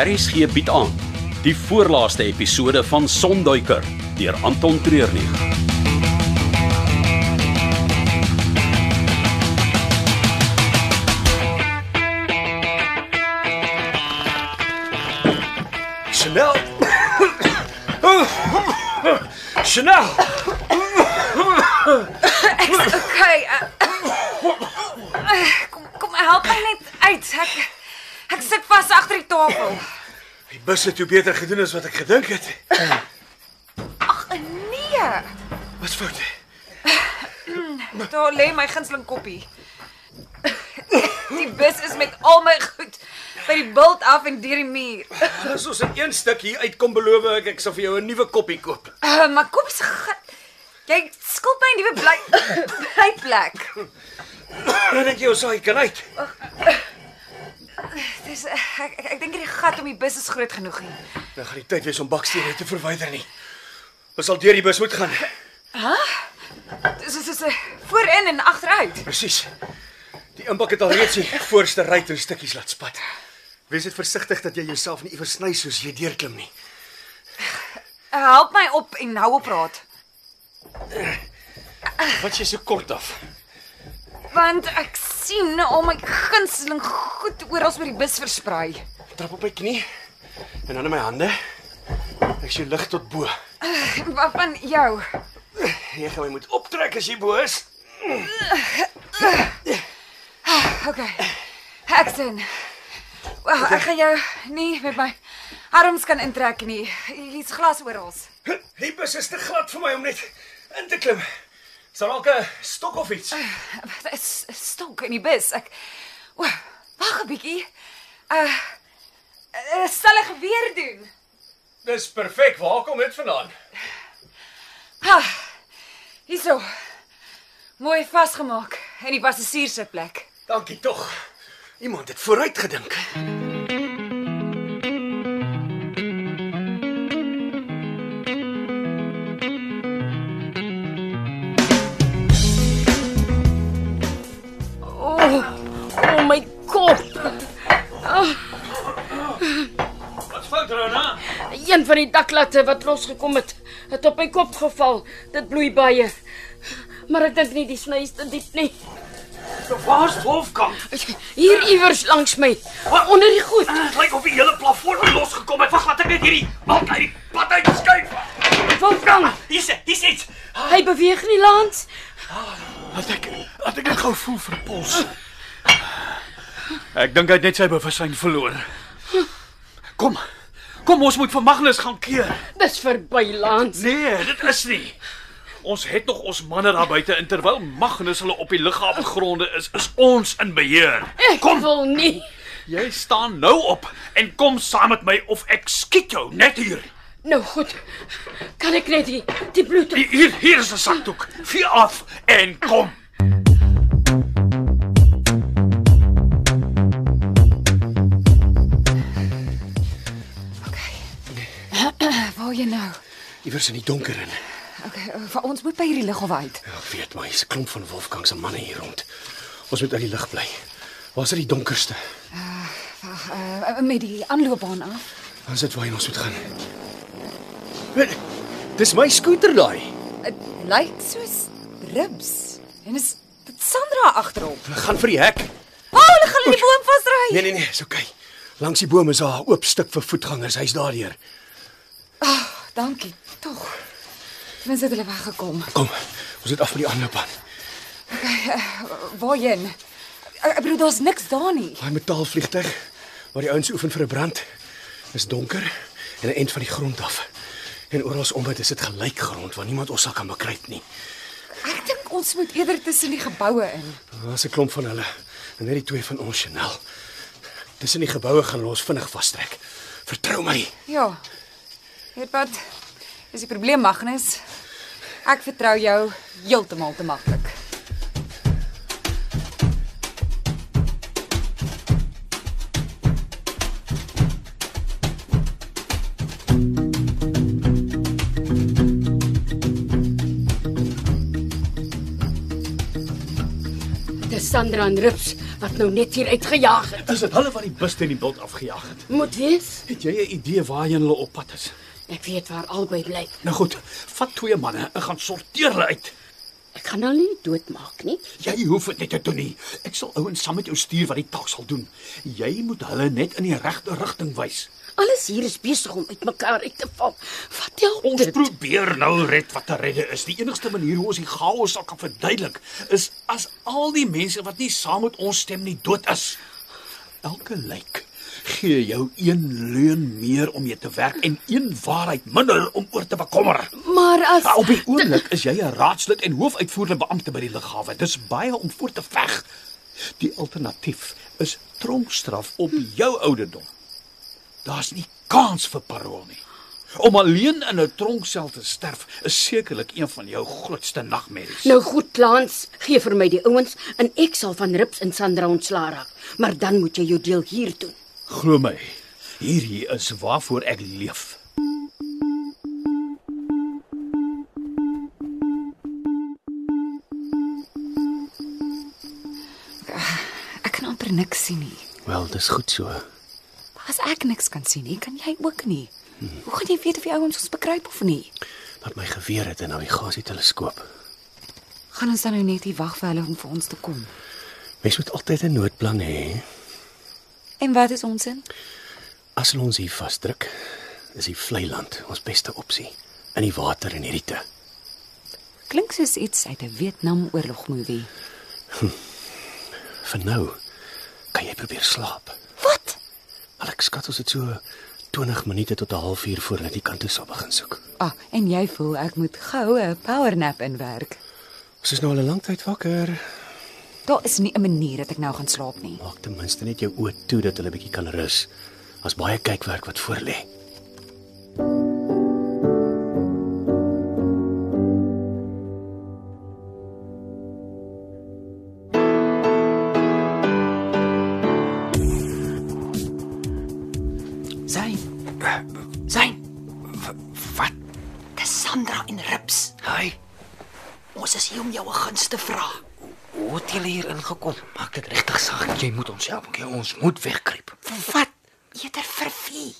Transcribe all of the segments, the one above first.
RSG bied aan die voorlaaste episode van Sonduiker deur Anton Treurnig. Chanel. Chanel. Okay. Uh, kom kom help my net uit. Ek ek sit vas agter die tafel. Die bus het jou beter gedoen as wat ek gedink het. Ag nee. Wat fout? Daar lê my gunsteling koppie. Die bus is met al my goed by die bult af en deur die muur. As ons in een stuk hier uitkom, beloof ek ek sal vir jou 'n nuwe koppie koop. Uh, maar kom se gat. Jy skuld my 'n nuwe bly blyplek. Nou Dan dink jy ons sal hier kan uit. Dis uh, ek ek, ek dink hierdie gat om die bus is groot genoeg nie. Dan gaan die tyd wees om bakstene te verwyder nie. Ons sal deur die bus moet gaan. Dis is is voorin en agteruit. Presies. Die inbak het al reeds die voorste ry in stukkies laat spat. Wees net versigtig dat jy jouself nie iewers sny soos jy deurklim nie. Uh, help my op en hou op praat. Wat jy so kort af. Want ek sien al my gunsteling goed oral oor die bus versprei. Trap op my knie en dan in my hande. Ek sien lig tot bo. Wat van jou? Jy gaan my moet optrek as jy bo is. OK. Ek sien. Wel, ek gaan jou nie met my arms kan intrek nie. Hier's glas oral. Die bus is te glad vir my om net in te klim. Sal dalk 'n stok of iets. Dit is stonk in die bus. Ek o, wag 'n bietjie. Uh, uh sal ek weer doen. Dis perfek. Waar kom dit vandaan? Ha. Hierso. Mooi vasgemaak in die passasierssitplek. Dankie tog. Iemand het vooruit gedink. Oh my kop. Wat fout Rona? Een van die daklatte wat losgekom het, het op my kop geval. Dit bloei baie. Maar ek dink nie die sny is te diep nie. Waar's Wolfgang? Hier iewers langs my, onder die goed. Dit lyk of die hele plafon losgekom het. Wag, laat ek net hierdie balk uit die pad uitskuif. Wolfgang, Hier's hier's iets. hy beweeg nie langs. Laat ek laat ek net gou voel vir pols. Ek dink hy het net sy bewussyn verloor. Kom. Kom ons moet vir Magnus gaan keer. Dis verby langs. Nee, dit is nie. Ons het nog ons manne daar buite en terwyl Magnus hulle op die lughawe gronde is, is ons in beheer. Ek kom. wil nie. Jy staan nou op en kom saam met my of ek skiet jou net hier. Nou goed. Kan ek net die, die bloed Hier, Hier hier is 'n sakdoek. Vee af en kom. Waar jy nou? Iewers in die donker in. Ja, Okay, eh, vir ons moet by hierdie liggawe uit. Ek weet maar, hier's 'n klomp van Wolfgang se manne hier rond. Ons moet uit die lig bly. Waar's dit die donkerste? Wag, uh, met die aanloopbaan af. Ons het waarheen ons moet gaan. Wel, Dis my skooter daai. Dit lyk soos ribs. En is dit Sandra agterop? Hulle gaan vir die hek. O, oh, hulle gaan in die boom vasry. Nee nee nee, is oukei. Okay. Langs die boom is daar 'n oop stuk vir voetgangers. Hy's daardeur. Dankie tog. Mens het hulle weggekom. Kom. Ons moet af met die aanloopbaan. Waarheen? Eh, Ek ek bedoel daar's niks daar nie. Daai metaalvliegtuig waar die ouens oefen vir 'n brand is donker en 'n end van die grond af. En oral om dit is dit gelyk grond waar niemand ons sal kan bekruip nie. Ek dink ons moet eerder tussen die geboue in. Daar's 'n klomp van hulle en net die twee van ons Chanel. Tussen die geboue gaan hulle ons vinnig vastrek. Vertrou my. Ja. Weet wat? Is die probleem Magnus? Ek vertrou jou heeltemal te maklik. Dis Sandra en Rips wat nou net hier uitgejaag het. Is dit hulle wat die bus teen die bult afgejaag het? Moet wees. Het jy 'n idee waarheen hulle op pad is? Ek weet waar albei bly. Nou goed, vat twee manne en gaan sorteer hulle uit. Ek gaan nou nie doodmaak nie. Jy hoef dit net te doen nie. Ek sal ouens saam met jou stuur wat die taak sal doen. Jy moet hulle net in die regte rigting wys. Alles hier is besig om uitmekaar uit te val. Wat help Ons dit? probeer nou red wat te redde is. Die enigste manier hoe ons die chaos sal kan verduidelik is as al die mense wat nie saam met ons stem nie dood is. Elke lijk gee jou een leuen meer om mee te werk en een waarheid minder om oor te bekommer. Maar as Maar op die oomblik is jy 'n raadslid en hoofuitvoerende beampte by die lughawe. Dis baie om voor te veg. Die alternatief is tronkstraf op jou ouderdom. Daar's nie kans vir parol nie. Om alleen in 'n tronksel te sterf is sekerlik een van jou grootste nagmerries. Nou goed, Lans, gee vir my die ouens en ek sal van Rips en Sandra ontslaa raak. Maar dan moet jy jou deel hier doen. Glo my, hierdie is waarvoor ek leef. Ek kan amper niks sien nie. Wel, dis goed so. As ek niks kan sien nie, kan jy ook nie. Hoe gaan jy weet of die ouens ons bekruip of nie? Wat my geweer het 'n navigasieteleskoop. Gaan ons dan nou net hier wag vir hulle om vir ons te kom? Mens moet altyd 'n noodplan hê. En wat is ons in? As hulle ons hier vasdruk, is die vlei land ons beste opsie in die water en hierdie te. Klink soos iets uit 'n Vietnam oorlog movie. Vir nou kan jy probeer slaap. Wat? Maar ek skat ons het so 20 minute tot 'n halfuur voor hulle die kant toe sal begin soek. Ah, en jy voel ek moet gou 'n power nap inwerk. Ons is nou al 'n lang tyd wakker. Daar is nie 'n manier dat ek nou gaan slaap nie. Maak ten minste net jou oë toe dat hulle bietjie kan rus. Ons baie kykwerk wat voor lê. Sein. Sein. Wat? Dis Sandra en Rips. Hi. Ons is hier om jou 'n guns te vra. Hoe het julle hier ingekom? Maak dit regtig saak. Jy moet ons help. Okay, ons moet wegkruip. Wat? Eerder vir wie?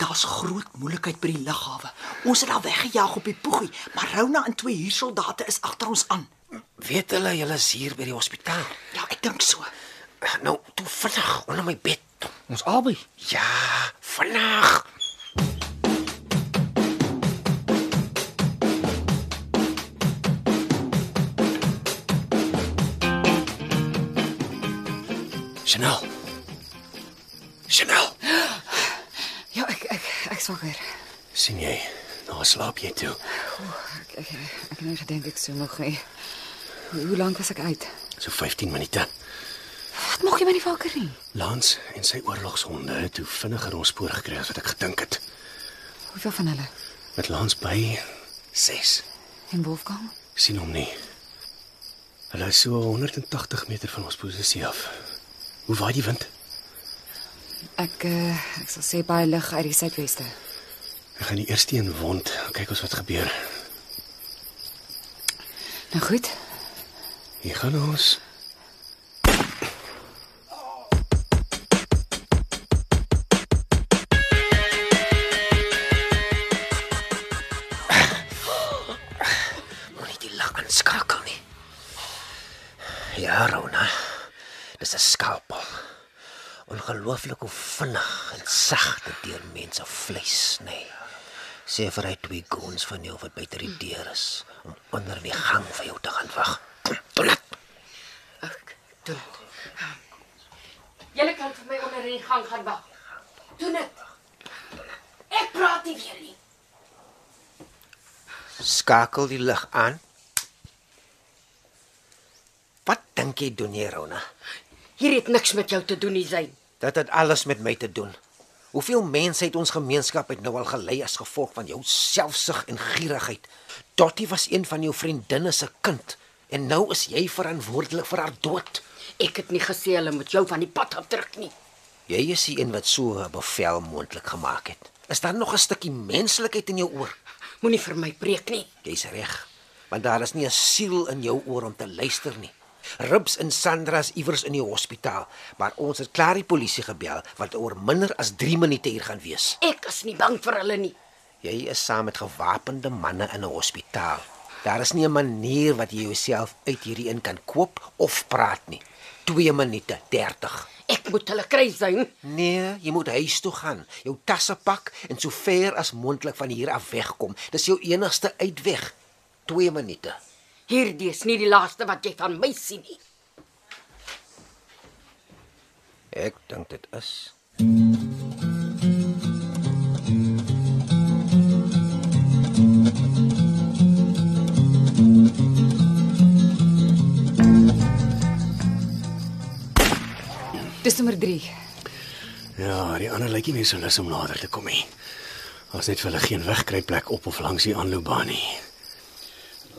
Daar's groot moeilikheid by die lughawe. Ons het daar weggejaag op die poegie, maar Rona en twee hiersoldate is agter ons aan. Weet hulle julle is hier by die hospitaal? Ja, ek dink so. Nou, toe vinnig onder my bed. Ons albei. Ja, vinnig. Chanel. Chanel. Ja, ek ek ek swakker. sien jy? Nou slaap jy toe. Ek ek, ek het nou gedink ek sou nog nie. Hoe hoe lank was ek uit? So 15 minute. Wat maak jy my nie wakker nie? Lance en sy oorlogshonde het hoe vinniger ons spoor gekry as wat ek gedink het. Hoeveel van hulle? Met Lance by 6. En Wolfgang? sien hom nie. Hulle is so 180 meter van ons posisie af. Hoe waai die wind? Ek uh, ek sal sê baie lig uit die suidweste. Ek gaan die eerste een wond. Kyk ons wat gebeur. Nou goed. Hier gaan ons. Moenie die lig aanskakel nie. Ja, Rona. Dis 'n skalpel. Ongelooflik hoe vinnig en sag dit deur mense vleis, nê. Nee. Sê vir hy twee goons van jou wat buite die deur is om onder die gang vir jou te gaan wag. Kom, doen dit. Ek doen dit. Ehm, Julle kan vir my onder in die gang gaan wag. Doen dit. Ek praat nie weer nie. Skakel die lig aan. Wat dink jy doen jy, Rona? Hier het niks met jou te doen nie, Zain. Dit het alles met my te doen. Hoeveel mense het ons gemeenskap het nou al gelei as gevolg van jou selfsug en gierigheid. Dottie was een van jou vriendinne se kind en nou is jy verantwoordelik vir haar dood. Ek het nie gesê hulle moet jou van die pad afdruk nie. Jy is die een wat so 'n bevel moontlik gemaak het. Is daar nog 'n stukkie menslikheid in jou oor? Moenie vir my preek nie. Jy's reg. Want daar is nie 'n siel in jou oor om te luister nie. Rips en Sandra's iewers in die hospitaal, maar ons het klaar die polisie gebel want oor minder as 3 minute hier gaan wees. Ek is nie bang vir hulle nie. Jy is saam met gewapende manne in 'n hospitaal. Daar is nie 'n manier wat jy jouself uit hierdie in kan koop of praat nie. 2 minute 30. Ek moet hulle kry sien. Nee, jy moet huis toe gaan, jou tasse pak en so ver as moontlik van hier af wegkom. Dis jou enigste uitweg. 2 minute. Hierdie is nie die laaste wat jy van my sien nie. Ek dink dit is. Dis nommer 3. Ja, die ander lyk nie meer so lus om nader te kom nie. Ons net vir hulle geen wegkruipplek op of langs die aanloopbaan nie.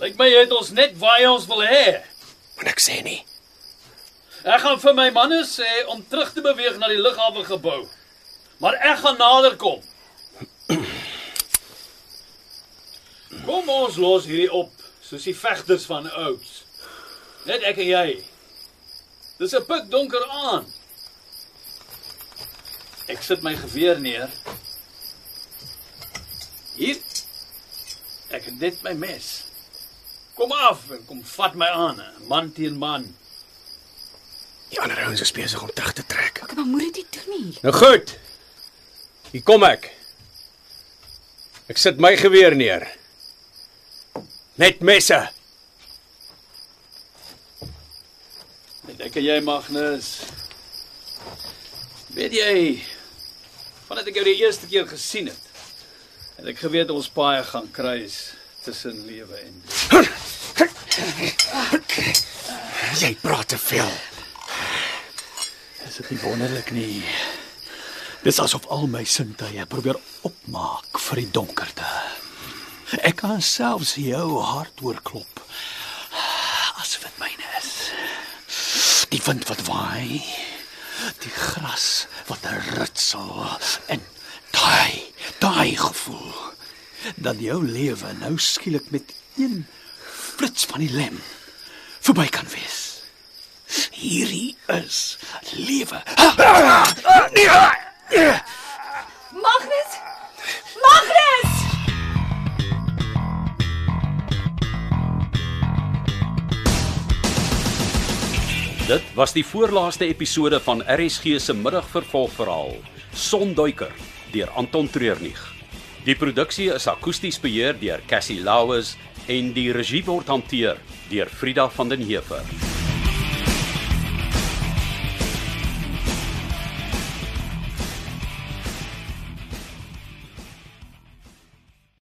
Lyk my jy het ons net eh? waar jy ons wil hê. Maar ek sê nie. Ek gaan vir my manne sê om terug te beweeg na die lughawe gebou. Maar ek gaan nader kom. Kom ons los hierdie op, soos die vegters van ouds. Net ek en jy. Dis 'n pik donker aan. Ek sit my geweer neer. Hier. Ek het net my mes. Kom af en kom vat my aan, man teen man. Die ander ouens is besig om terug te trek. Okay, maar moed dit doen nie. Nou goed. Hier kom ek. Ek sit my geweer neer. Net messe. Net ek en jy Magnus. Weet jy, vandat ek jou die eerste keer gesien het, het ek geweet ons paai gaan kruis tussen lewe en dood. Jy praat te veel. Is dit nie wonderlik nie? Dis asof al my sintuie probeer opmaak vir die donkerte. Ek kan selfs jou hart hoorklop. As dit myne is. Die wind wat waai, die gras wat ritsel en daai, daai gevoel dat jou lewe nou skielik met een flits van die lem verby kan wees. Hierdie is lewe. Magnus! Magnus! Dit was die voorlaaste episode van RSG se middagvervolgverhaal Sonduiker deur Anton Treurnig. Die produksie is akoesties beheer deur Cassie Lauers en die regie word hanteer deur Frida van den Heever.